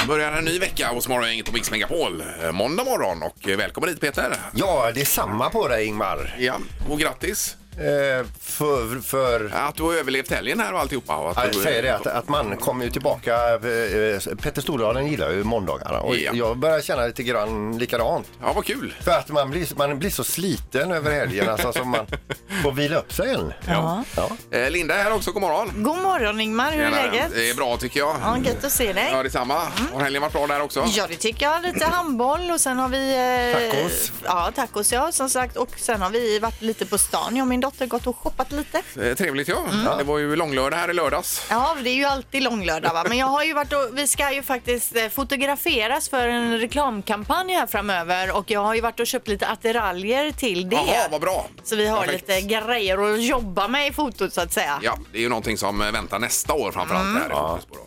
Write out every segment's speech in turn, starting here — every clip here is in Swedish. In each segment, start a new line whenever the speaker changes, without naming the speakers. Eh, börjar en ny vecka hos Morgongänget på Mix Megapol. Eh, Måndag morgon och eh, välkommen hit Peter.
Ja, det är samma på dig Ingmar.
Ja, och grattis
Eh, för, för
att du har överlevt helgen här och alltihopa. Och att
jag
du,
säger det att, att man kommer ju tillbaka. Eh, Petter Stordalen gillar ju måndagarna och
Ja.
jag börjar känna lite grann likadant.
Ja, vad kul.
För att man blir, man blir så sliten över helgen alltså som man får vila upp sig en.
Ja.
Ja.
Eh, Linda är här också, god morgon.
God morgon Ingmar, hur är
Tjenare.
läget?
Det är bra tycker jag.
Ja, gött att se dig.
Ja, detsamma. Har helgen varit bra där också?
Ja, det tycker jag. Lite handboll och sen har vi... eh,
Tacos.
Ja, tacos ja, som sagt. Och sen har vi varit lite på stan. Jag och min dotter gått och shoppat lite.
Eh, Trevligt ja.
Mm.
Det var ju långlördag här i lördags.
Ja, det är ju alltid långlördag va. Men jag har ju varit och, vi ska ju faktiskt eh, fotograferas för en reklamkampanj här framöver och jag har ju varit och köpt lite attiraljer till det.
Jaha, vad bra.
Så vi har
Perfekt.
lite grejer att jobba med i fotot så att säga.
Ja, det är ju någonting som eh, väntar nästa år framförallt.
Mm.
Här i Fokus på då.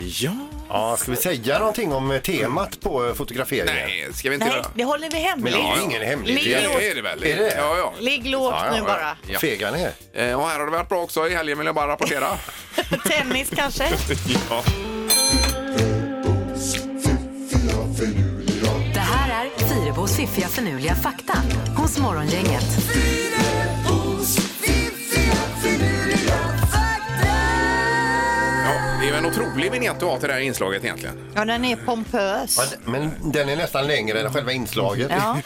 Ja.
Ja, ska vi säga någonting om eh, temat på eh, fotograferingen?
Nej, ska vi inte
Nej,
göra?
det håller vi
Men
hemligt.
det är ju ingen hemlighet.
Det
Ligg lågt.
är det väl?
Är det?
Ja, ja.
Ligg lågt
Ja, ja,
nu
ja.
bara.
Ja.
Fega ner.
Eh, Och här har det varit bra också i helgen vill jag bara rapportera.
Tennis kanske?
ja.
Det här är Fyrabos fiffiga förnuliga fakta hos Morgongänget.
ja, det är ju en otrolig vignett du har till det här inslaget egentligen.
Ja, den är pompös.
Ja, d- Men den är nästan längre än själva inslaget.
Ja,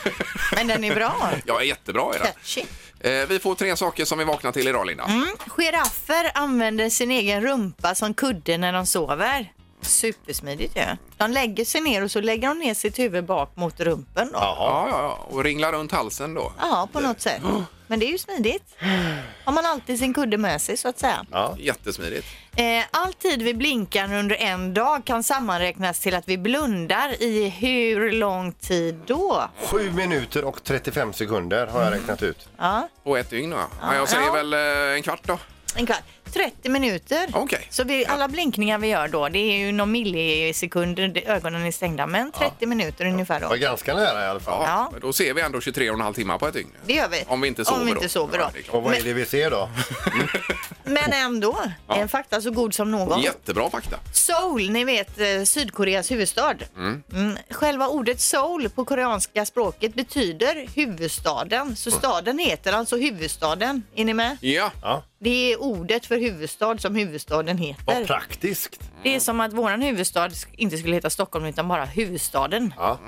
men den är bra.
Ja, jättebra är den.
Catchy.
Eh, Vi får tre saker som vi vaknar till idag Linda.
Mm. Giraffer använder sin egen rumpa som kudde när de sover. Supersmidigt ju. De lägger sig ner och så lägger de ner sitt huvud bak mot rumpen då. Ja,
Ja, ja, ja. Och ringlar runt halsen då.
på något sätt. Men det är ju smidigt. Har man alltid sin kudde med sig så att säga.
Ja.
Jättesmidigt.
Eh, all tid vi blinkar under en dag kan sammanräknas till att vi blundar i hur lång tid då?
7 minuter och 35 sekunder har jag räknat ut.
Ja.
På ett dygn va? Ja, jag säger
ja.
väl eh, en kvart då.
En kvart. 30 minuter.
Okej.
Så vi, alla blinkningar vi gör då, det är ju någon millisekund, det- ögonen är stängda, men 30 minuter ungefär
Det
då.
var ganska nära i alla fall.
Ja.
Men Då ser vi ändå 23 och en halv timme på ett dygn.
Det gör vi.
Om vi inte sover
Om vi
då.
inte sover då.
Ja, det är klart.
Och vad är det vi ser då?
Men ändå, en fakta så god som någon.
Jättebra fakta.
Seoul, ni vet eh, Sydkoreas huvudstad. Mm. Själva ordet Seoul på koreanska språket betyder huvudstaden. Så staden heter alltså huvudstaden. Är ni med?
Ja,
Ja.
Det är ordet för huvudstad som huvudstaden
Vad
heter.
praktiskt.
Det är som att våran huvudstad inte skulle heta Stockholm utan bara huvudstaden.
Ja.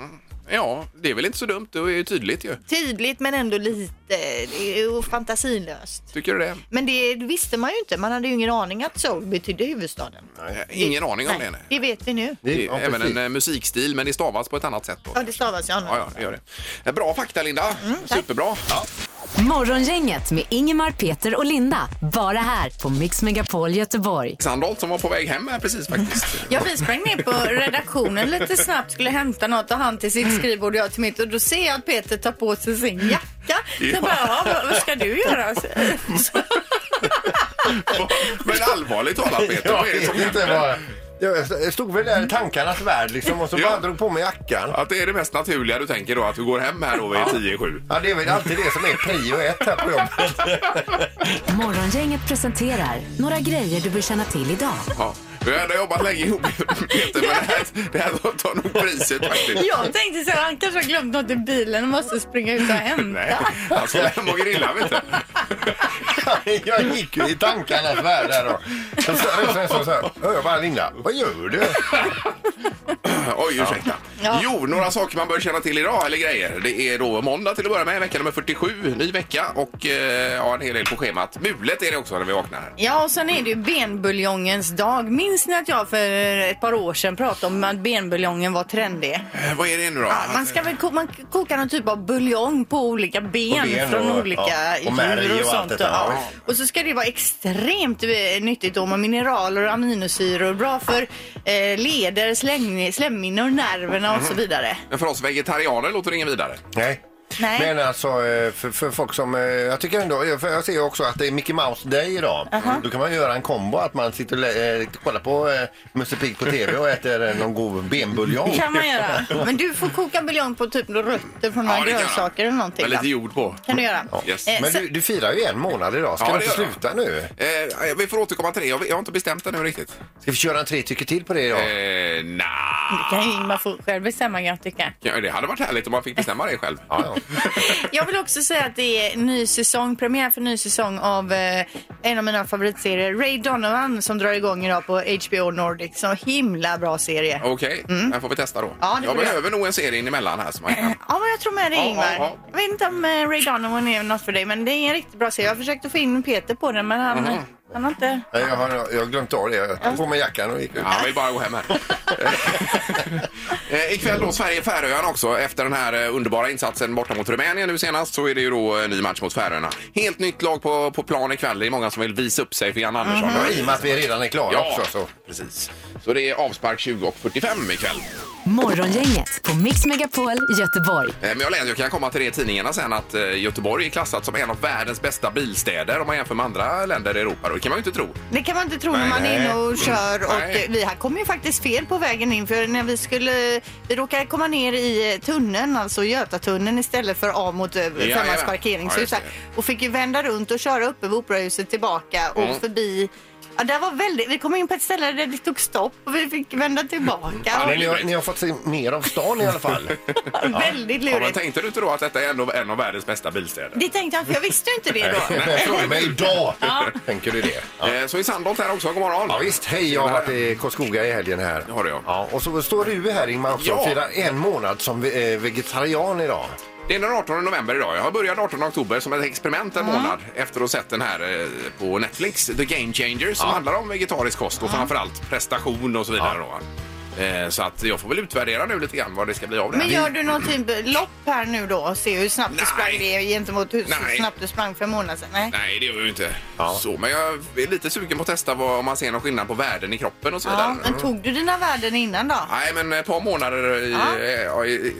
ja det är väl inte så dumt. Det är ju tydligt ju.
Tydligt men ändå lite det är ju fantasilöst.
Tycker du det?
Men det visste man ju inte. Man hade ju ingen aning att Seoul betydde huvudstaden.
Eh, Ingen aning om det. nej.
det vet vi nu.
Det,
Det är
ja,
även
precis.
en eh, musikstil, men det stavas på ett annat sätt. Då.
Ja, det stavas ju
Ja,
annorlunda.
ja, det gör det. Eh, Bra fakta, Linda.
Mm,
Superbra.
Morgongänget med Ingemar, Peter och Linda. Bara här på Mix Megapol Göteborg.
Sandholt som var på väg hem här precis faktiskt.
Ja, vi sprang ner på redaktionen lite snabbt, skulle hämta något och han till sitt skrivbord och jag till mitt och då ser jag att Peter tar på sig sin jacka. Så jag bara, ja, vad- vad ska du göra? Så- så-
Men allvarligt talat, Peter.
Ja,
Vad är det som
jag vet inte
händer?
vad- Jag stod väl där i tankarnas värld liksom och så
Ja.
bara drog på mig jackan.
Att det är det mest naturliga du tänker då, att du går hem här då vid 10-7.
Ja, det är väl alltid det som är prio ett här på jobbet.
Morgongänget presenterar några grejer du bör känna till idag.
Ja. Vi har ändå jobbat länge ihop, Peter, men det här, det här tar nog priset faktiskt.
Jag tänkte så här, han kanske har glömt något i bilen och måste springa ut och
Nej,
hämta.
han skulle hem och grilla, vet du.
Jag gick ju i tankarnas värld där då. Så, så, så, så, så här, hör jag bara Linda, vad gör du?
Oj, ursäkta. Jo, några saker man bör känna till idag, eller grejer. Det är då måndag till att börja med, vecka nummer 47, ny vecka och eh, ja, en hel del på schemat. Mulet är det också när vi vaknar. här.
Ja, och sen är det ju benbuljongens dag. Minns ni att jag för ett par år sedan pratade om att benbuljongen var trendig?
Eh, vad är det nu då?
Ja, man ska väl ko- man kokar någon typ av buljong på olika ben,
På ben
från
och-
olika
ja, och märg
djur och
och allt
sånt.
detta,
ja.
ja.
Och så ska det vara extremt eh, nyttigt då med mineraler och aminosyror. Bra för eh, leder, släng, slemhinnor, nerverna och så vidare.
Men för oss vegetarianer låter det ingen vidare.
Nej.
Nej.
Men alltså eh, för, för folk som, eh, jag tycker ändå, eh, för jag ser ju också att det är Mickey Mouse Day idag. Då kan man göra en kombo att man sitter och lä- eh, kollar på eh, Musse Pigg på TV och äter eh, någon god benbuljong.
kan man göra. Men du får koka buljong på typ rötter från
Ja,
några
det kan
grönsaker eller någonting.
Med
va?
lite jord på.
kan du göra.
Ja. Yes.
Eh,
Men
sen-
du, du firar ju en månad idag, ska
Ja,
du
det
inte
gör jag.
sluta nu?
Eh, vi får återkomma till det. Jag, jag har inte bestämt det nu riktigt.
Ska vi köra en tre tycker till på det idag?
Eh,
Det
nah.
kan ju Ingmar få själv bestämma kan jag tycka.
Ja, det hade varit härligt om man fick bestämma det själv.
Ja, ja.
Jag vill också säga att det är ny säsong, premiär för ny säsong av eh, en av mina favoritserier, Ray Donovan, som drar igång idag på HBO Nordic. Så himla bra serie.
Okej, den får vi testa då.
Mm. Ja, det
jag
får vi
behöver nog en serie in emellan här. Som man kan...
Ja, men jag tror med dig
Ja,
Ingvar.
ja, ja.
Jag vet inte om eh, Ray Donovan är något för dig, men det är en riktigt bra serie. Jag försökte få in Peter på den, men han, han har inte...
Nej, Jag har jag har glömt av det. Jag tog på mig jackan och gick ut.
Ja, Han vill bara gå hem här. Eh, Ikväll då Sverige-Färöarna också. Efter den här eh, underbara insatsen borta mot Rumänien nu senast så är det ju då en ny match mot Färöarna. Helt nytt lag på, på plan ikväll. Det är många som vill visa upp sig för Jan Andersson.
Mhm.
Ja, I och med att vi redan är klara
Ja,
också. Så.
precis. Så det är avspark 20.45 ikväll.
Morgongänget på Mix Megapol Göteborg.
Eh, Men jag läser, jag kan komma till det i tidningarna sen, att eh, Göteborg är klassat som en av världens bästa bilstäder om man jämför med andra länder i Europa. Det kan man ju inte tro.
Det kan man inte tro när man är inne och kör. Och
Nej.
eh, vi här kom ju faktiskt fel på vägen in för när vi skulle, vi råkade komma ner i eh, tunneln, alltså Götatunneln istället för av mot eh, Femmans
jajamän. Ja, just
parkeringshus
det.
här. och fick ju vända runt och köra uppe vid Operahuset tillbaka och
Mm.
förbi Ja, det var väldigt, vi kom in på ett ställe där det tog stopp och vi fick vända tillbaka.
Ja,
Men ni, har, ni har fått se mer av stan i alla fall.
Väldigt
Ja, men
lurigt.
tänkte du inte då att detta är en av, en av världens bästa bilstäder?
Det tänkte jag, för jag visste ju inte det då.
Från mig idag tänker du det. Ja.
Eh, Så i Sandholt här också, god morgon.
Ja, visst, hej, jag har varit i Karlskoga i helgen här.
Det har du, ja.
och så står du här Ingmar också
Ja.
och firar en månad som ve- eh, vegetarian idag.
Det är den 18 november idag. Jag började 18 oktober som ett experiment en månad efter att ha sett den här eh, på Netflix, The Game Changer, som handlar om vegetarisk kost och framförallt prestation och så vidare. Då. Eh, Så att jag får väl utvärdera nu lite grann vad det ska bli av det. här.
Men gör du någon typ lopp här nu då och se hur snabbt du
Nej.
sprang det gentemot hur
Nej.
snabbt du sprang för en månad sedan? Nej.
Nej, det gör jag ju inte.
Ja.
Så, men jag är lite sugen på att testa vad, om man ser någon skillnad på värden i kroppen och så
Ja,
vidare.
men tog du dina värden innan då?
Nej, men ett par månader i... Ja. i, i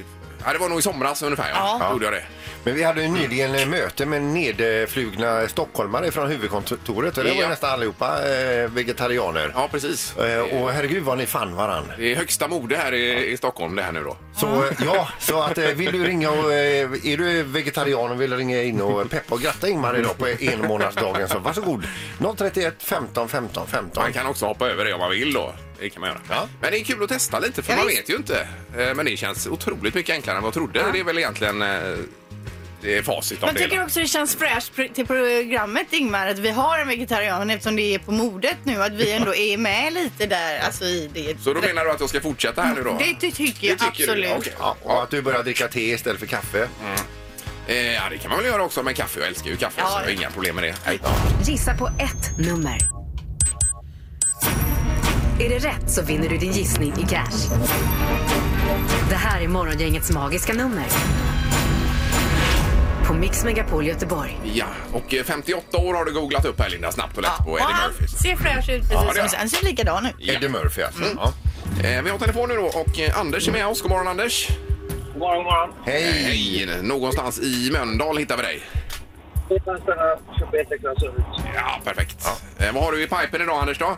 ja, det var nog i somras ungefär, ja.
Ja.
Gjorde jag det.
Men vi hade ju nyligen eh, möte med nedflugna stockholmare från huvudkontoret och det var
Ja.
ju nästan allihopa eh, vegetarianer.
Ja, precis.
Eh, Och herregud vad ni fann varann.
Det är högsta mode här i, i Stockholm det här nu då.
Så eh, ja, så att eh, vill du ringa och eh, är du vegetarian och vill ringa in och peppa och gratta Ingmar idag på enmånadsdagen så varsågod. 031 15 15 15.
Man kan också hoppa över det om man vill då. Det kan man göra.
Ja.
Men det är kul att testa lite för
Ja,
man
visst.
vet ju inte. Eh, Men det känns otroligt mycket enklare än vad jag trodde. Det är väl egentligen eh, det är facit av
Man
det hela.
tycker också det känns fräscht pr- till programmet Ingmar att vi har en vegetarian eftersom det är på modet nu att vi ändå är med lite där alltså i det.
Så då menar du att jag ska fortsätta här nu då?
Det ty- tycker jag
Det tycker du?
absolut.
Ja, okej.
Ja, och att du börjar dricka te istället för kaffe.
Eh, Ja, det kan man väl göra också med kaffe. Jag älskar ju kaffe
Ja.
så jag har inga problem med det. Nej.
Gissa på ett nummer. Är det rätt så vinner du din gissning i cash. Det här är Morgongängets magiska nummer. På Mix Megapol Göteborg.
Ja, och eh, 58 år har du googlat upp här Linda snabbt och lätt på
Och
Eddie
han
Murphys.
ser fräsch ut precis
det gör
som
han.
Han ser likadan ut.
Ja.
Eddie Murphy alltså. Ja.
Eh, Vi har telefon nu då och eh, Anders är med oss. God morgon Anders!
God morgon, god morgon.
Hej!
Hej! Någonstans i Mölndal hittar vi dig.
Utan stanna 21 klass ut.
Ja, perfekt. Eh, Vad har du i pipen idag Anders då?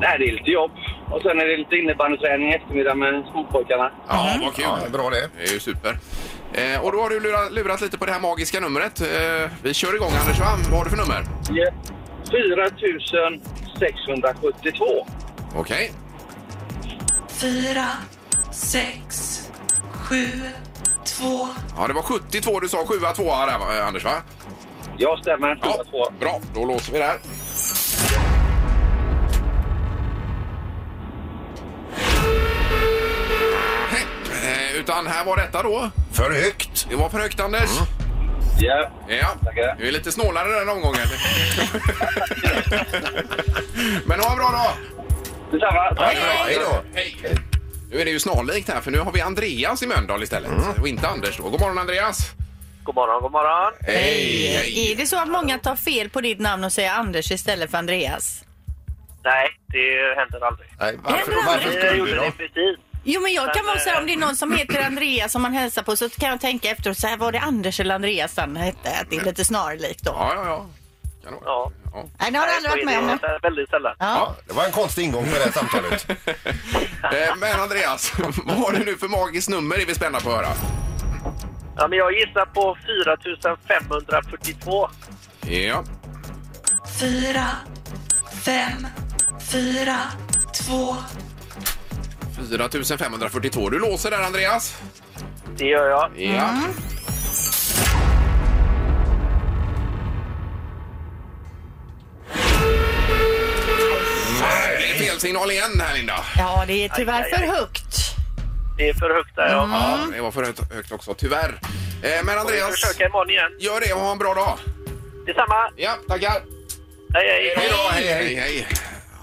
Nej, det är lite jobb. Och sen är det lite innebandyträning i eftermiddag med skolpojkarna.
Ja, vad kul!
Ja, bra det.
Det är ju super. Eh, och då har du lurat, lurat lite på det här magiska numret. Eh, vi kör igång Anders, va? Vad har du för nummer?
Ja. 4 672.
Okej.
fyra, sex, sju, två.
Ja, det var 72 du sa. 7 2 där va, eh, Anders, va?
Jag stämmer.
Ja,
4-2.
bra. Då låser vi där. Hepp, eh, Utan här var detta då.
För högt. Mm.
Det var för högt Anders.
Ja.
Ja,
Tackar.
du är lite snålare den omgången. Men ha en bra dag!
Detsamma. Tack.
bra. Hej då.
Hej. Nu är det ju snarlikt här för nu har vi Andreas i Mölndal istället
Mm.
och inte Anders då. God morgon Andreas!
God morgon, god morgon.
Hej!
Är det så att många tar fel på ditt namn och säger Anders istället för Andreas?
Nej, det händer aldrig.
Nej, varför,
Händer
varför
aldrig.
skulle du då?
precis.
Jo, men jag kan
Men,
vara så här,
eh,
om det är någon som heter Andreas som man hälsar på så kan jag tänka efteråt så här, var det Anders eller Andreas han hette? Att det är lite snarlikt då.
Ja, ja, ja. Kan det vara.
Ja.
ja.
Nej, det har du aldrig varit med om.
Det är väldigt sällan.
Ja, det var en konstig ingång på det här samtalet.
Eh, Men Andreas, vad har du nu för magiskt nummer? är vi spända på att höra.
Ja, men jag gissar på 4542.
Ja.
fyra, fem, fyra, två,
4542. Du låser där, Andreas.
Det gör jag.
Ja.
Mm.
Nej, det är fel signal igen här, Linda.
Ja, det är tyvärr
Aj, aj,
för
aj.
högt.
Det är för högt där, ja.
Ja, det var för högt- högt också, tyvärr. Eh, Men
Vi får
Andreas,
försöka imorgon igen.
gör det och ha en bra dag.
Detsamma.
Ja, tackar.
Hej, hej.
Hej då, hej, hej, hej.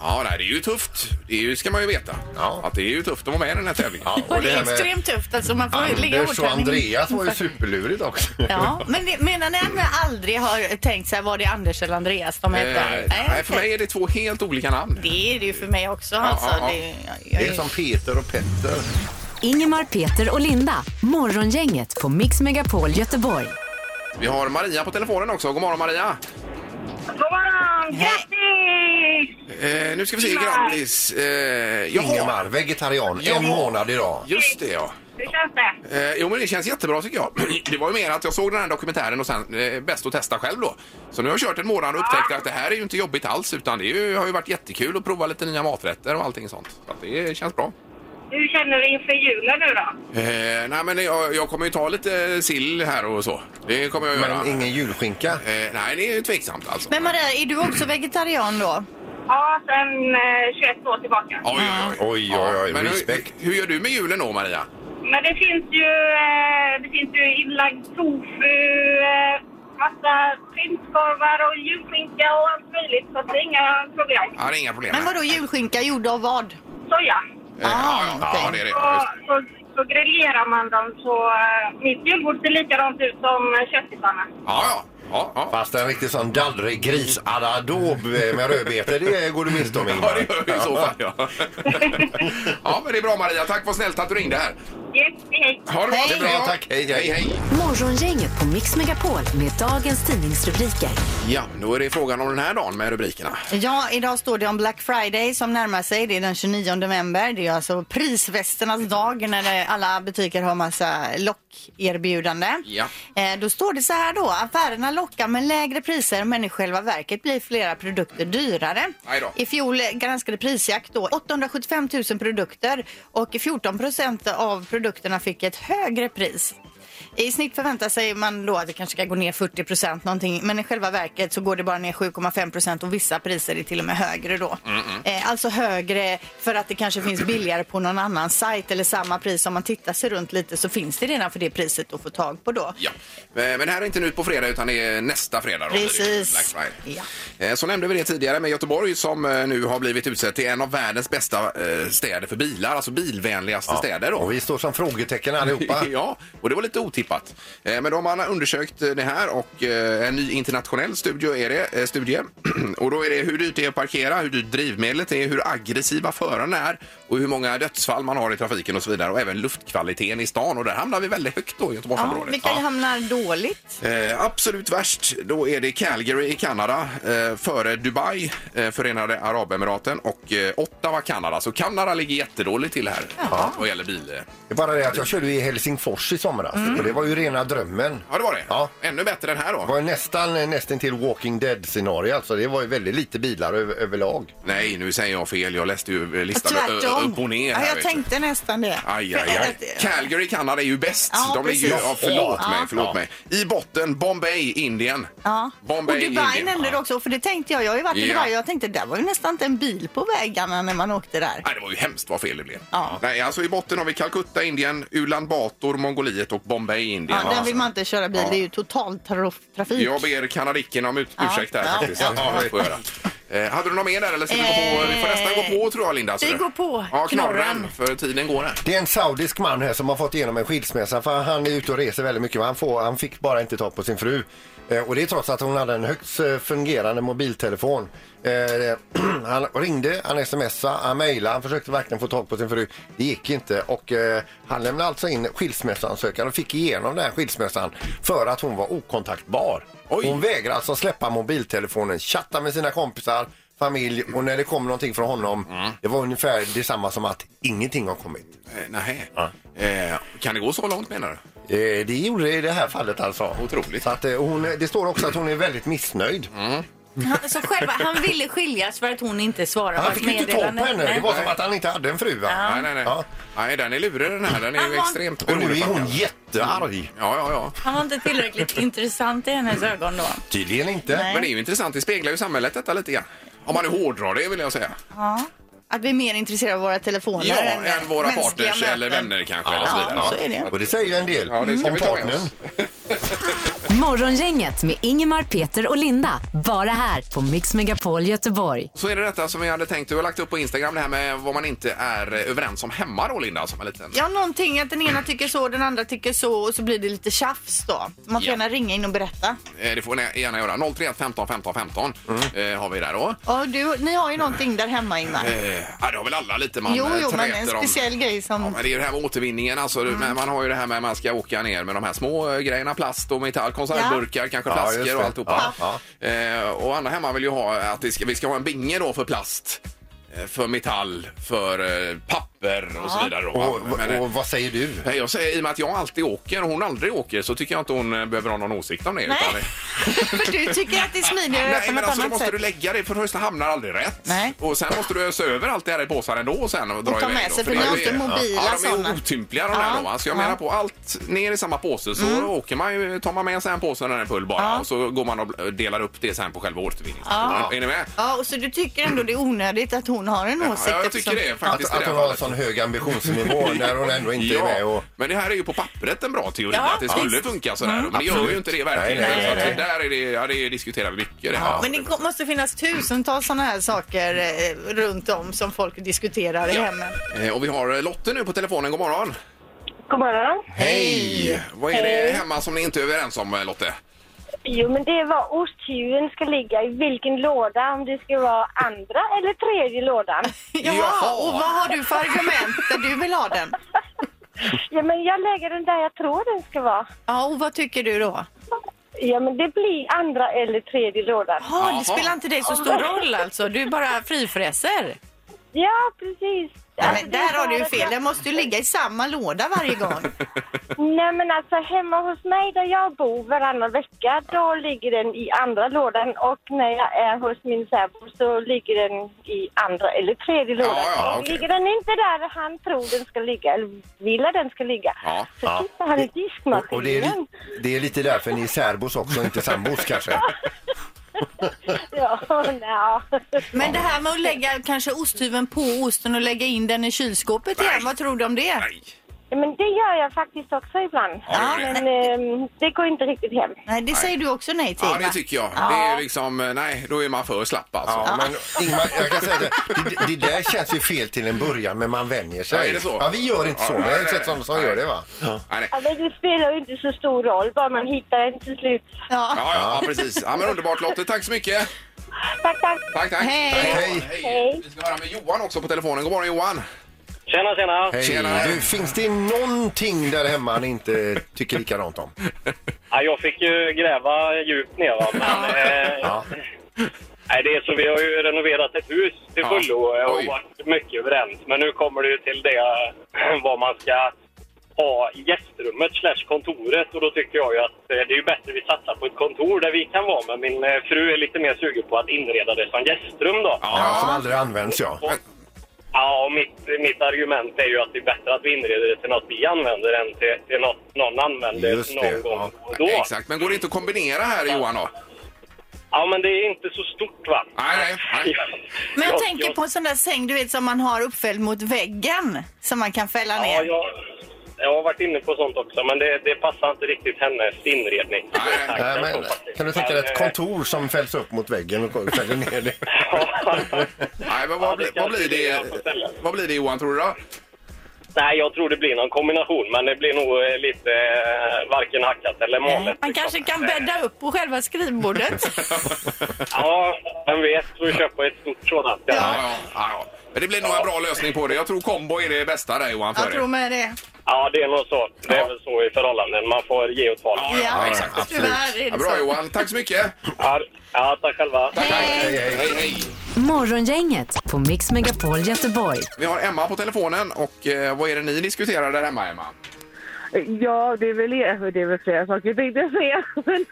Ja, nej, det är ju tufft. Det är ju, ska man ju veta.
Ja.
Att det är ju tufft att vara med i den här tävlingen. Eh,
Ja,
Och det är
här med
extremt tufft alltså. Man får ligga
Anders och
hårdträning.
Andreas var ju superlurigt också.
Ja, men det, menar ni att ni aldrig har tänkt så här, var det Anders eller Andreas de hette?
Eh, nej, för
okej.
mig är det två helt olika namn.
Det är det ju för mig också alltså.
ja, ja.
Det, jag, jag,
Det är som Peter och Petter.
Ingemar, Peter och Linda. Morgongänget på Mix Megapol Göteborg.
Vi har Maria på telefonen också. God morgon Maria!
God morgon! Grattis!
Eh, nu ska vi se, grattis! Eh, jaha,
Ingemar, vegetarian,
Ja.
en månad idag.
just det ja.
Hur känns det?
Eh, jo men det känns jättebra tycker jag. Det var ju mer att jag såg den här dokumentären och sen eh, bäst att testa själv då. Så nu har jag kört en månad och upptäckt att det här är ju inte jobbigt alls utan det är ju, har ju varit jättekul att prova lite nya maträtter och allting sånt. Så att det känns bra.
Hur känner du inför julen nu då?
Eh, nej men jag, jag kommer ju ta lite sill här och så. Det kommer jag göra.
Men ingen julskinka.
Eh, nej det är ju tveksamt alltså.
Men Maria, är du också vegetarian då?
Ja, sen eh, 21 år tillbaka.
Oj, oj,
Oj, oj, oj,
Men hur,
respekt.
hur gör du med julen då Maria?
Men det finns ju, eh, det finns ju inlagd tofu, eh, massa prinskorvar och julskinka och allt möjligt. Så det är inga problem.
Ja, det är inga problem.
Men vadå julskinka gjord av vad?
Soja.
Eh, ja, ja,
Ah, okej.
ja, det är det.
Så,
Ja,
så, så grillerar man dem så eh, mitt julbord ser likadant ut som eh, köttisarna.
ja. ja, ja.
Fast en riktig sån dallrig gris à la daube med rödbetor, det går du miste om
Ja, det
Ingemar.
gör vi i så fall. Ja. ja, men det är bra Maria. Tack vad snällt att du ringde här.
Yes, hej.
Ha det bra.
Hej.
Det är bra.
Tack, hej, hej.
hej, hej.
Morgongänget på Mix Megapol med dagens tidningsrubriker.
Ja, då är det frågan om den här dagen med rubrikerna.
Ja, idag står det om Black Friday som närmar sig. Det är den 29 november. Det är alltså prisvästernas dag när det, alla butiker har massa lockerbjudande.
Ja.
Eh, då står det så här då. Affärerna lockar med lägre priser men i själva verket blir flera produkter dyrare.
Aj då.
I fjol granskade Prisjakt då 875 000 produkter och 14 procent av produkterna fick ett högre pris. I snitt förväntar sig man då att det kanske ska gå ner 40 procent någonting men i själva verket så går det bara ner 7,5 procent och vissa priser är till och med högre då. Eh, alltså högre för att det kanske finns billigare på någon annan sajt eller samma pris. Om man tittar sig runt lite så finns det redan för det priset att få tag på då.
Ja. Eh, Men det här är inte nu på fredag utan det är nästa fredag. Då, blir det ju
Precis.
Black Friday.
Ja.
Eh, Så nämnde vi det tidigare med Göteborg som eh, nu har blivit utsett till en av världens bästa eh, städer för bilar, alltså bilvänligaste städer. Då.
Och vi står som frågetecken allihopa.
Ja, och det var lite otippat. Eh, Men de har undersökt eh, det här och eh, en ny internationell studie är det. eh, Studie. Och då är det hur dyrt det är att parkera, hur dyrt drivmedlet är, hur aggressiva förarna är och hur många dödsfall man har i trafiken och så vidare. Och även luftkvaliteten i stan. Och där hamnar vi väldigt högt då i
Ja,
Göteborgsområdet.
vilka hamnar dåligt?
Eh, absolut värst, då är det Calgary i Kanada, eh, före Dubai, eh, Förenade Arabemiraten och eh, Ottawa, Kanada. Så Kanada ligger jättedåligt till här vad gäller bil. eh,
Det är bara det att jag körde i Helsingfors i somras och det var ju rena drömmen.
Mm. Ja, det var det.
Ja.
Ännu bättre än här då.
Det var ju nästan eh, nästan till Walking Dead-scenario, alltså det var ju väldigt lite bilar över, överlag.
Nej, nu säger jag fel. Jag läste ju eh, listan ö- ö-
Tvärtom.
upp och ner.
ja,
här,
jag
vet du.
tänkte nästan det.
Aj,
För
aj, aj.
att- eh,
Calgary, Kanada är ju bäst.
Ja,
De ligger ju,
precis.
ja, förlåt
Ja.
mig, förlåt
Ja.
mig. I botten Bombay, Indien.
Ja.
Bombay,
och Dubai
Indien.
nämnde du också, för det tänkte jag. Jag har ju varit i
Ja.
Dubai och jag tänkte där var ju nästan inte en bil på vägarna när man åkte där.
Nej, det var ju hemskt vad fel det blev.
Ja.
Nej, alltså i botten har vi Calcutta, Indien, Ulan Bator, Mongoliet och Bombay, Indien.
Ja, där vill man inte köra bil,
Ja.
det är ju total traf- trafik.
Jag ber kanadicken om ut-
Ja.
ursäkt där
Ja.
faktiskt.
Ja.
Ja, det får jag göra. Eh, hade du något mer där eller ska vi gå på? Vi får nästan gå på tror jag Linda. så
Eh, vi
det-
går på
Ja, knorren.
knorren.
För tiden går här.
Det är en saudisk man här som har fått igenom en skilsmässa för han är ute och reser väldigt mycket men han, får, han fick bara inte tag på sin fru. Eh, Och det är trots att hon hade en högst eh, fungerande mobiltelefon. Eh, han ringde, han smsade, han mejlade, han försökte verkligen få tag på sin fru. Det gick inte och eh, han lämnade alltså in skilsmässoansökan och fick igenom den här skilsmässan för att hon var okontaktbar.
Oj.
Hon vägrade alltså släppa mobiltelefonen, chatta med sina kompisar, familj och när det kom någonting från honom, det var ungefär detsamma som att ingenting har kommit.
Eh, Nej.
Ja.
Eh, kan det gå så långt menar du?
Eh, det gjorde det i det här fallet alltså.
Otroligt. Mm.
Så att, eh, hon, det står också att hon är väldigt missnöjd.
Han, så själva, han ville skiljas för att hon inte svarade
Han
på
fick ju inte tag på
meddelande.
henne.
Nej.
Det var som att han inte hade en fru. Va?
Nej, nej, nej.
Ja.
nej. Den är lurig den här. Den är ju
Aha.
extremt
Och nu är hon
beroendeframkallande.
jättearg.
Ja, ja, ja.
Han var inte tillräckligt intressant i hennes ögon då.
Tydligen inte.
Men det är ju intressant. Det speglar ju samhället detta lite grann. Om man nu hårdrar det vill jag säga.
Att vi är mer intresserade av våra telefoner
Ja, än våra
mänskliga
partners
möten.
eller vänner kanske.
Ja,
eller så vidare.
så är det.
Och det säger ju en del
Ja, det ska
om
vi ta med
partnern.
oss.
Morgongänget med Ingemar, Peter och Linda. Bara här på Mix Megapol Göteborg.
Så är det detta som vi hade tänkt. Du har lagt upp på Instagram det här med vad man inte är överens om hemma då Linda som en liten...
Ja, någonting att den ena tycker så, den andra tycker så och så blir det lite tjafs då. Man får
Ja.
gärna ringa in och berätta.
Eh, Det får ni gärna göra. 031 15 15 15
Mm.
eh, har vi där då.
Och du, ni har ju någonting där hemma Ingmar.
Eh, ja, det har väl alla lite man
Jo,
eh,
jo, men en
träter
speciell grej
Ja,
som...
men det är ju det här med återvinningen. Alltså,
Mm.
du- men man har ju det här med att man ska åka ner med de här små eh, grejerna. Plast och metall, konservburkar, kanske
Ja,
flaskor
just det.
och alltihopa.
Ja,
Eh, och Anna hemma vill ju ha att vi ska, vi ska ha en binge då för plast. eh, För metall, för eh, papper och så vidare. Då, va?
Och,
Men, eh,
och, och vad säger du?
Nej, jag säger, I och med att jag alltid åker och hon aldrig åker så tycker jag inte hon eh, behöver ha någon åsikt om det.
Nej. För du tycker att det är smidigare att göra
Nej,
på
men
något
alltså då
annat
måste
sätt.
du lägga det. För det första hamnar aldrig rätt.
Nej.
Och sen måste du ösa över allt det här i påsar ändå och sen och dra
Och ta
iväg
med
då,
sig, för
det
ni har
är-
inte mobila
Ja, de är
sådana.
otympliga de
Ja,
där då. va? Så jag
ja. Mm.
menar på allt ner i samma påse så åker man ju, tar man med sig en påse när den är full bara
Ja.
och så går man och delar upp det sen på själva återvinningsstationen.
Ja.
Är ni med?
Ja, och så du tycker ändå det är onödigt att hon har en åsikt?
Ja, jag
eftersom-
tycker det
Att,
faktiskt. i
att
det här
hon har en
fallet.
sån hög ambitionsnivå när hon ändå inte är med. Och,
Men det här är ju på pappret en bra teori,
Ja, Mm.
att det skulle funka sådär. Men det gör ju inte det i verkligheten.
Nej, nej,
Så att
nej.
det Där är det, ja, det diskuterar vi mycket det här.
Men det kom- måste finnas tusentals sådana här saker eh, runt om som folk diskuterar i hemmen.
Eh, Och vi har Lotte nu på telefonen. God morgon.
God morgon.
Hej! Vad är det hemma som ni inte är överens om, eh, Lotte?
Jo, men det var osthuven ska ligga i vilken låda, om det ska vara andra eller tredje lådan.
Jaha.
Jaha, och vad har du för argument där du vill ha den?
Ja, men jag lägger den där jag tror den ska vara.
Ja, och vad tycker du då?
Ja, men det blir andra eller tredje lådan.
Ja,
Jaha.
det spelar inte dig så stor roll alltså. Du är bara frifräser.
Ja, precis.
Ja,
Alltså,
men
det är
där har du ju
bara
fel.
att
Den måste ju ligga i samma låda varje gång.
Nej, men alltså hemma hos mig där jag bor varannan vecka, då ligger den i andra lådan och när jag är hos min sambo så ligger den i andra eller tredje lådan.
ja, okej.
Ligger den inte där han tror den ska ligga, eller vill att den ska ligga,
Ja.
så tittar han i
och, och det, är,
diskmaskinen.
li- det är lite därför ni är särbos också, inte sambos kanske.
Ja, nja.
Men det här med att lägga kanske osthyveln på osten och lägga in den i kylskåpet igen, vad tror du om det?
Nej.
Men det gör jag faktiskt också ibland.
Ja, det gör det.
men ehm, det går inte riktigt hem.
Nej, det säger du också nej till.
Ja, det
va?
tycker jag. Det är liksom, eh, nej, då är man för slapp alltså.
Ja, men Ingmar, jag kan säga det, det, det där känns ju fel till en början, men man vänjer sig.
Ja, är det så?
Ja, vi gör inte så,
Ja,
men jag har ju
nej,
sett
nej,
sådana som
nej.
gör det va?
Nej, nej.
Ja, men det spelar ju inte så stor roll, bara man hittar den till slut.
Ja, ja, ja, precis. Ja, men underbart Lotte, tack så mycket.
Tack, tack.
Tack, tack.
Hej.
Hej.
Hej.
Hej. Vi ska höra med Johan också på telefonen. God morgon Johan.
Tjena, tjena.
Hej.
Tjena.
Du, finns det någonting där hemma ni inte tycker likadant om?
Ja, jag fick ju gräva djupt ner. Va? Men, eh,
Ja.
nej, det är så, vi har ju renoverat ett hus till
Ja.
fullo eh, och
Oj.
varit mycket överens. Men nu kommer det ju till det eh, vad man ska ha i gästrummet slash kontoret. Och då tycker jag ju att eh, det är ju bättre vi satsar på ett kontor där vi kan vara. Men min eh, fru är lite mer sugen på att inreda det som gästrum då.
Ja, som aldrig används ja.
Ja, och mitt, mitt argument är ju att det är bättre att vi inreder det till något vi använder än till, till något någon använder
Just det,
någon gång
ja.
och då.
Exakt, men går det inte att kombinera här Johan då?
Ja, men det är inte så stort va?
Nej, nej, nej.
Men jag
Ja,
tänker
ja.
på en sån där säng du vet som man har uppfälld mot väggen som man kan fälla
Ja,
ner.
jag, jag har varit inne på sånt också, men det, det passar inte riktigt hennes inredning.
Nej, nej.
Exakt,
Nej,
jag
men,
tror faktiskt.
kan du tänka dig ett
Men, eh,
kontor som fälls upp mot väggen och fäller ner det?
Nej, men
Ja,
vad, blir-
det
vad,
kanske
blir
det är
det,
jag får ställa.
vad blir det Johan tror du då?
Nej, jag tror det blir någon kombination, men det blir nog eh, lite eh, varken hackat eller malet.
Eh,
liksom. Eh,
Man kanske kan bädda upp på själva skrivbordet.
Ja, vem vet, så vi köper ett stort sådant.
Ja,
Ja,
ja, ja. Men det blir nog en bra lösning på det. Jag tror kombo är det bästa där Johan. För
Jag tror
er.
med det.
ja det är nog så. Det
Ja.
är väl så i förhållanden. Man får ge och ta.
Ja,
Ja,
exakt.
absolut.
Tyvärr är
Ja,
det
bra
så.
Johan, tack så mycket.
Ja, ja tack själva.
Hej, hej.
Hej, hej.
Morgongänget på Mix Megapol Göteborg.
Vi har Emma på telefonen och eh, vad är det ni diskuterar där hemma Emma?
Ja, det är väl, det är väl flera saker tänkte jag säga. Men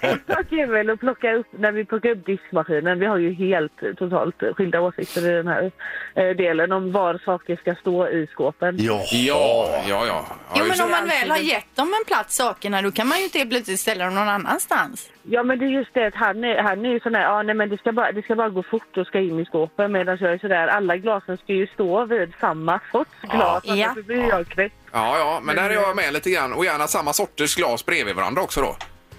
en sak är väl att plocka upp, när vi plockar upp diskmaskinen, vi har ju helt eh, totalt eh, skilda åsikter i den här eh, delen om var saker ska stå i skåpen.
Ja.
Ja, ja, ja. ja
Jo,
just
men
det.
om man väl har gett dem en plats sakerna, då kan man ju inte helt plötsligt ställa dem någon annanstans.
Ja men det är just det att han är, han är ju sån här, ja nej men det ska bara, det ska bara gå fort och ska in i skåpen medan jag är sådär, alla glasen ska ju stå vid samma sorts glas,
Ja.
annars blir jag knäckt.
Ja, ja, men där är jag med lite grann. Och gärna samma sorters glas bredvid varandra också då.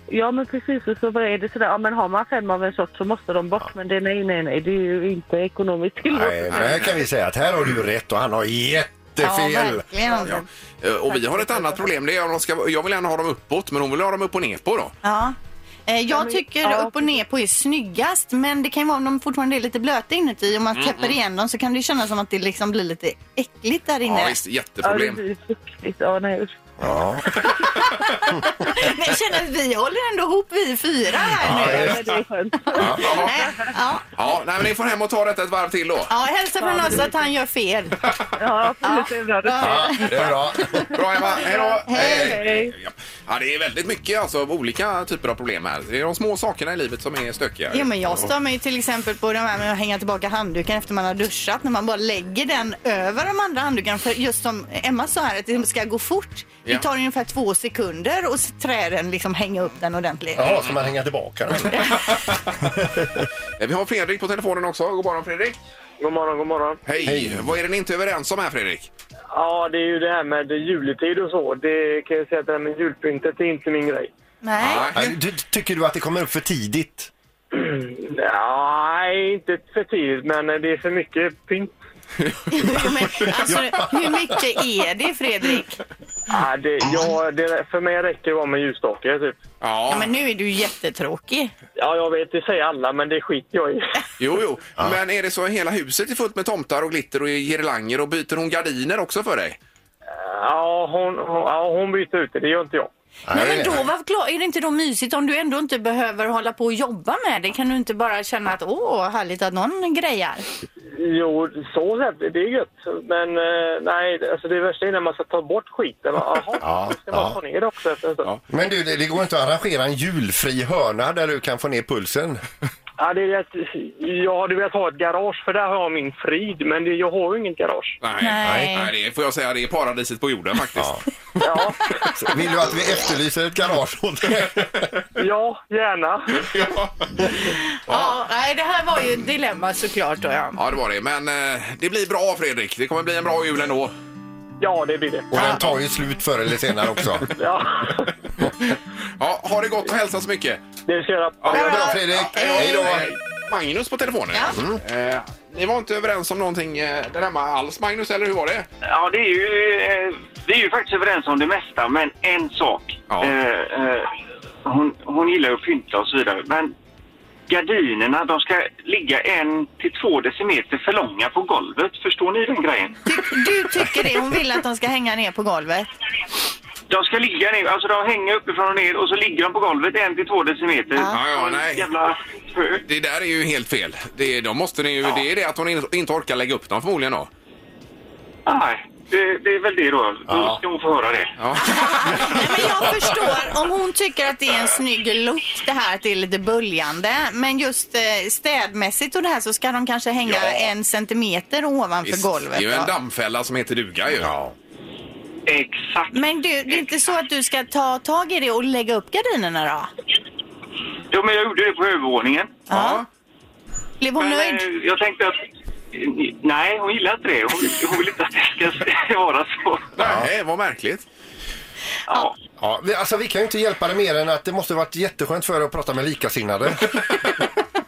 Ja men precis, och så är det sådär, ja men har man fem av en sort så måste de bort, men det, nej nej nej, det är ju inte ekonomiskt tillåtet.
Nej, men här kan vi säga att här har du rätt och han har jättefel.
verkligen.
Ja. Eh, Och vi har ett annat problem. Det är om de ska, jag vill gärna ha dem uppåt, men hon vill ha dem upp och ner på då.
Ja. Eh, Jag tycker
ja,
upp och ner på är snyggast men det kan ju vara om de fortfarande är lite blöta inuti. Om man täpper igen dem så kan det ju kännas som att det liksom blir lite äckligt där
Ja,
inne.
visst,
Ja, det
jätteproblem.
blir fuktigt. Ja, nej. usch.
Ja.
Men jag känner att vi håller ändå ihop vi fyra här nu.
Ja, men det är skönt.
Ja, ja.
Nej, ja.
ja nej, men ni får hem och ta detta ett varv till då.
Ja, hälsa från oss att han gör fel.
Ja, absolut. Det är bra. Det är
ja, det är bra.
Bra Emma, hej då!
bra. Hej.
Ja. Ja, det är väldigt mycket alltså, av olika typer av problem här. Det är de små sakerna i livet som är stökiga.
Jo, men jag stör mig ju till exempel på det här med att hänga tillbaka handduken efter man har duschat. När man bara lägger den över de andra handdukarna. För just som Emma sa här, att det ska gå fort.
Ja.
Det tar ungefär två sekunder och så träden liksom hänga upp den ordentligt.
Jaha, ska man hänga tillbaka den?
Eh, Vi har Fredrik på telefonen också. God morgon Fredrik!
God morgon, god morgon.
Hej! Vad är det ni inte är överens om här Fredrik?
Ja, det är ju det här med juletid och så. Det kan jag säga att det här med julpyntet är inte min grej.
Nej.
Nej, du- Tycker du att det kommer upp för tidigt?
Nej, inte för tidigt, men eh, det är för mycket pynt.
Men, alltså, hur mycket är det Fredrik?
Ja, det, ja, det, för mig räcker det bara med ljusstake, typ.
Ja, men nu är du jättetråkig.
Ja, jag vet, det säger alla, men det skiter jag i.
Jo, jo. Men är det så hela huset är fullt med tomtar och glitter och girlanger och byter hon gardiner också för dig?
Ja, hon, hon, ja, hon byter ut det, det gör inte jag.
Nej, men då var klar. Är det inte då mysigt om du ändå inte behöver hålla på och jobba med det? Kan du inte bara känna att åh, härligt att någon grejar?
Jo, så sett, det är gött. Men eh, nej, alltså det värsta är när man ska ta bort skiten. Jaha,
Ja,
då ska man
ja.
ta ner det också efter en stund.
Ja.
Ja.
Men du, det, det går inte att arrangera en julfri hörna där du kan få ner pulsen?
det är det att jag hade velat ha ett garage, för där har jag min frid. Men det, jag har ju inget garage.
Nej,
Nej.
nej det är, får jag säga, det är paradiset på jorden faktiskt.
Ja,
Vill du att vi efterlyser ett garage åt dig?
ja gärna.
Ja.
Ja, nej, det här var ju ett dilemma såklart. Då, ja.
ja, det var det. Men eh, det blir bra Fredrik. Det kommer bli en bra jul ändå.
Ja, det blir det.
Och den tar ju slut förr eller senare också.
Ja,
Ja, ha det gott och hälsa så mycket.
det ska jag göra.
Ja, det var
Bra Fredrik! Hej då!
Magnus på telefonen. Mm. Eh, ni var inte överens om någonting eh, där hemma alls Magnus, eller hur var det?
Ja, det är ju, eh, vi är ju faktiskt överens om det mesta, men en sak.
Ja.
Eh, eh, hon, hon gillar ju att pynta och så vidare, men gardinerna de ska ligga en till två decimeter för långa på golvet. Förstår ni den grejen?
Ty- du tycker det? Hon vill att de ska hänga ner på golvet.
De ska ligga ner, alltså de hänger uppifrån och ner och så ligger de på golvet en till två decimeter.
Ja, ja,
Och en
nej.
Jävla hö.
Det där är ju helt fel. Det, de måste ni ju, det är det att hon in- inte orkar lägga upp dem förmodligen då.
Nej, det, det är väl det då. Då ska hon få höra det.
Ja.
Nej, men jag förstår om hon tycker att det är en snygg look det här att det är lite böljande. Men just eh, städmässigt och det här så ska de kanske hänga
Ja.
en centimeter ovanför
Visst,
golvet.
det är ju en
då.
dammfälla som heter duga ju. Ja.
Exakt.
Men du, det är inte så att du ska ta tag i det och lägga upp gardinerna då?
Jo, men jag gjorde det på övervåningen.
Ja.
Blev hon
Men,
nöjd?
eh, Jag tänkte att... eh, Nej, hon gillar inte det. Hon, hon vill inte att det ska vara så.
Nej, vad märkligt.
Ja.
Ja, vi, alltså, vi kan ju inte hjälpa dig mer än att det måste varit jätteskönt för dig att prata med likasinnade.
Ja,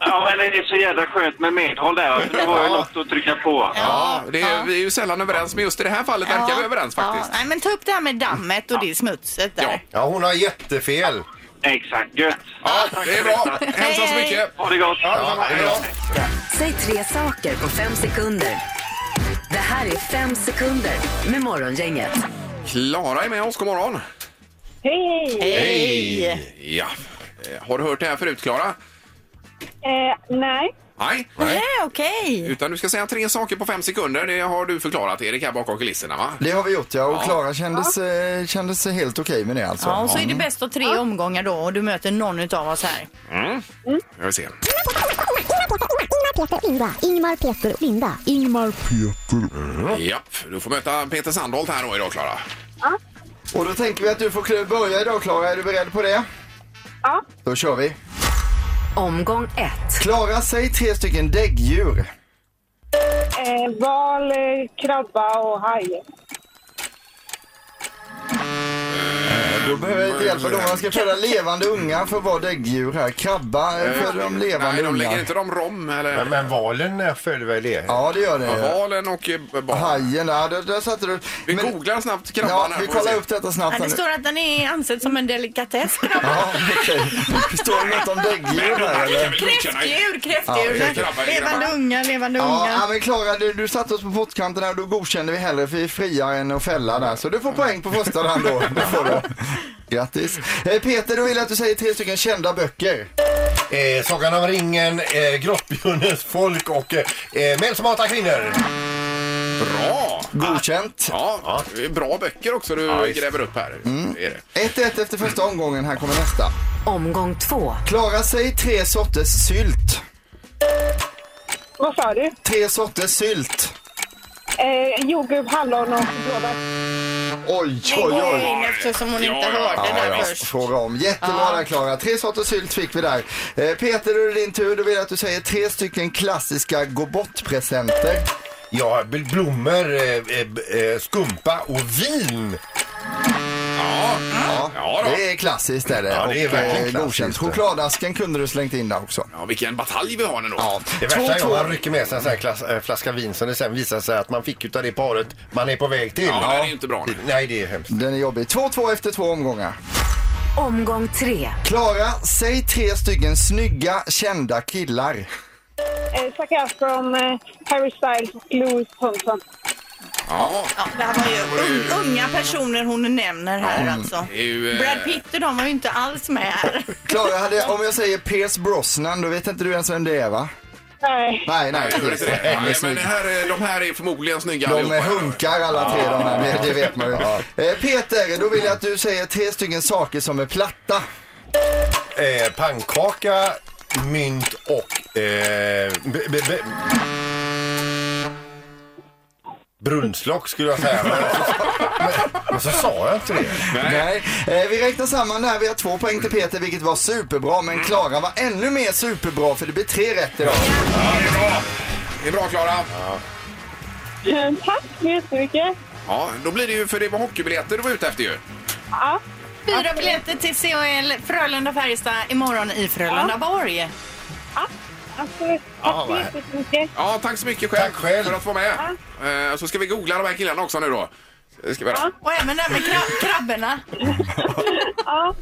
Ja, men det är så jävla skönt med medhåll där. Alltså, det var ju något att trycka på.
Ja, det är, vi är ju sällan överens, men just i det här fallet verkar vi överens faktiskt.
Ja, nej, men ta upp det här med dammet och det smutset där.
Ja.
Ja, hon har jättefel.
Exakt, gött.
Ja, det är bra. Hälsa så mycket.
Ha det gott.
Ja, hej då.
Säg tre saker på fem sekunder. Det här är fem sekunder med Morgongänget.
Klara är med oss, god morgon.
Hej, hej!
Hej! Ja. Eh, Har du hört det här förut, Klara?
Eh, nej.
Nej.
Nej, okej.
Utan du ska säga tre saker på fem sekunder. Det har du förklarat, Erik, här bakom kulisserna, va?
Det har vi gjort ja och Klara kändes, eh, kändes helt okej med det alltså.
Ja, och så är det bäst av tre omgångar då och du möter någon av oss här.
Jag vill se.
Ingmar, Peter, Linda.
Ja, du får möta Peter Sandholt här då idag, Klara.
Och då tänker vi att du får klö- börja idag Klara, är du beredd på det?
Ja.
Då kör vi.
Omgång ett.
Klara, säg tre stycken däggdjur.
Eh, val, eh, krabba och haj.
Då behöver jag inte hjälpa dem. Man ska föda levande ungar för att vara däggdjur här. Krabba eh, föder de levande
Nej, de lägger
ungar.
inte dem rom eller
Men, men valen eh, föder väl det?
Ja, det gör
Ja,
det.
valen och eh, barn.
Hajen där, där, där satte du.
Vi
Men-
googlar snabbt
Ja,
krabban här.
vi
får
kollar
se.
upp detta snabbt. här
Ja, det
nu.
står att den är ansedd som en delikatess.
Ja, okej. Står det något om däggdjur här
Det kan
eller?
vi godkänna.
Kräftdjur,
Ja,
kräftdjur.
det är
krabbar, det är
levande
krabbar.
unga, levande
Ja,
unga.
ja, men Klara, du, du satte oss på pottkanten här och då godkände vi hellre för vi är friare än att fälla där. Så du får poäng på första hand då. Det får du. Grattis. Eh, Peter, då vill jag att du säger tre stycken kända böcker.
Eh, Sagan om ringen, eh, Grottbjörnens folk och eh, Män som hatar kvinnor.
Bra!
Godkänt.
Ja, det är bra böcker också du
Ja, visst.
gräver upp här.
Mm.
Det är det.
1-1 efter första omgången. Här kommer nästa.
Omgång två.
Klara, säg tre sorters sylt.
Vad sa du?
Tre sorters sylt.
Eh, jordgubb, hallon och blåbär.
Oj, oj, oj.
In Eftersom hon
Ja,
inte
ja,
hörde
ja,
där
ja.
först.
Fråga om. Jättebra där Klara. Tre sorters sylt fick vi där. Eh, Peter, då är det din tur. Då vill jag att du säger tre stycken klassiska gå bort-presenter.
Ja, bl- blommor, eh, eh, b- eh, skumpa och vin.
Ja, ja då.
Det är klassiskt är det.
Ja, det är
Och,
verkligen
eh,
klassiskt.
godkänt. Chokladasken kunde du slängt in där också.
Ja, vilken batalj vi har nu då.
Ja.
Det värsta är om man rycker med sig en sån här klass, eh, flaska vin som det sen visar sig att man fick utav det paret man är på väg till.
Ja, det är ju inte bra.
Det- Nej, det är hemskt.
Den är jobbig. 2-2 efter två omgångar.
Omgång tre.
Klara, säg tre stycken snygga, kända killar.
Eh, Zac Efron, eh, Harry Styles och Louis Thompson.
Ja.
Ja, det här var ju un- unga personer hon nämner här alltså.
Det är ju, eh,
Brad Pitt och de var ju inte alls med här.
Klara, hade, om jag säger Pierce Brosnan, då vet inte du ens vem det är va?
Nej.
Nej,
Nej, nej.
det är inte det.
Nej,
Nej, men det här, är- de här är förmodligen snygga
De
allihopa.
är hunkar alla tre de här, det, det vet man ju. Eh, Peter, då vill jag att du säger tre stycken saker som är platta.
Eh, pannkaka, mynt och... Eh, b- b- b- Brunnslock skulle jag säga. Men, men, men så sa jag inte det.
Nej. Eh, vi räknar samman det här. Vi har två poäng till Peter, vilket var superbra. Men
Mm.
Klara var ännu mer superbra, för det blir tre rätt idag.
Ja, det är bra. Det är bra, Klara.
Eh, Tack så jättemycket.
Ja, då blir det ju, för det var hockeybiljetter du var ute efter ju.
Ja.
Fyra biljetter till CHL Frölunda-Färjestad imorgon i Frölundaborg.
Ja, absolut.
Ja,
Tack så
vad-
jättemycket.
Ja, tack så mycket själv,
Tack själv.
för att vara med. Eh, Så ska vi googla de här killarna också nu då. Det Ska vi göra.
Och även det här med krab- krabborna.
Ja.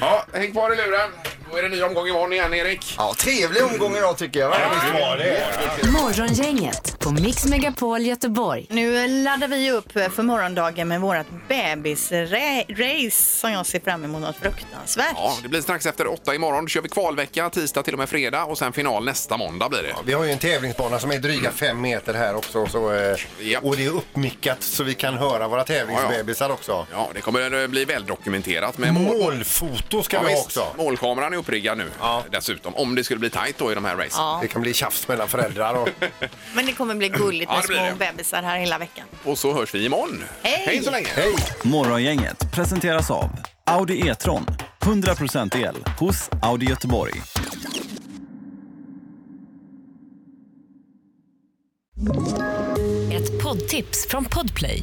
ja, häng kvar i luren. Då är det ny omgång imorgon igen, Erik.
Ja, trevlig omgång idag tycker jag.
Ja, visst var det.
Morgongänget på Mix Megapol Göteborg.
Nu laddar vi upp för morgondagen med vårt bebisrace som jag ser fram emot något fruktansvärt.
Ja, det blir strax efter åtta imorgon. Då kör vi kvalvecka tisdag till och med fredag och sen final nästa måndag blir det.
Vi har ju en tävlingsbana som är dryga fem meter här också. Så, eh,
Japp.
och det är uppmickat så vi kan höra våra tävlingsbebisar också.
Ja, det kommer eh, bli väldokumenterat med mål.
Målfoto ska
Ja,
vi ha
visst.
också.
Målkameran är uppriggad nu
Ja.
dessutom, om det skulle bli tajt då i de här racen.
Det kan bli tjafs mellan föräldrar och...
Men det kommer bli gulligt
Ja,
med
det blir
små
det.
bebisar här hela veckan.
Och så hörs vi imorgon.
Hej!
Hej så länge!
Hej!
Morgongänget presenteras av Audi E-tron. 100% el hos Audi Göteborg.
Ett poddtips från Podplay.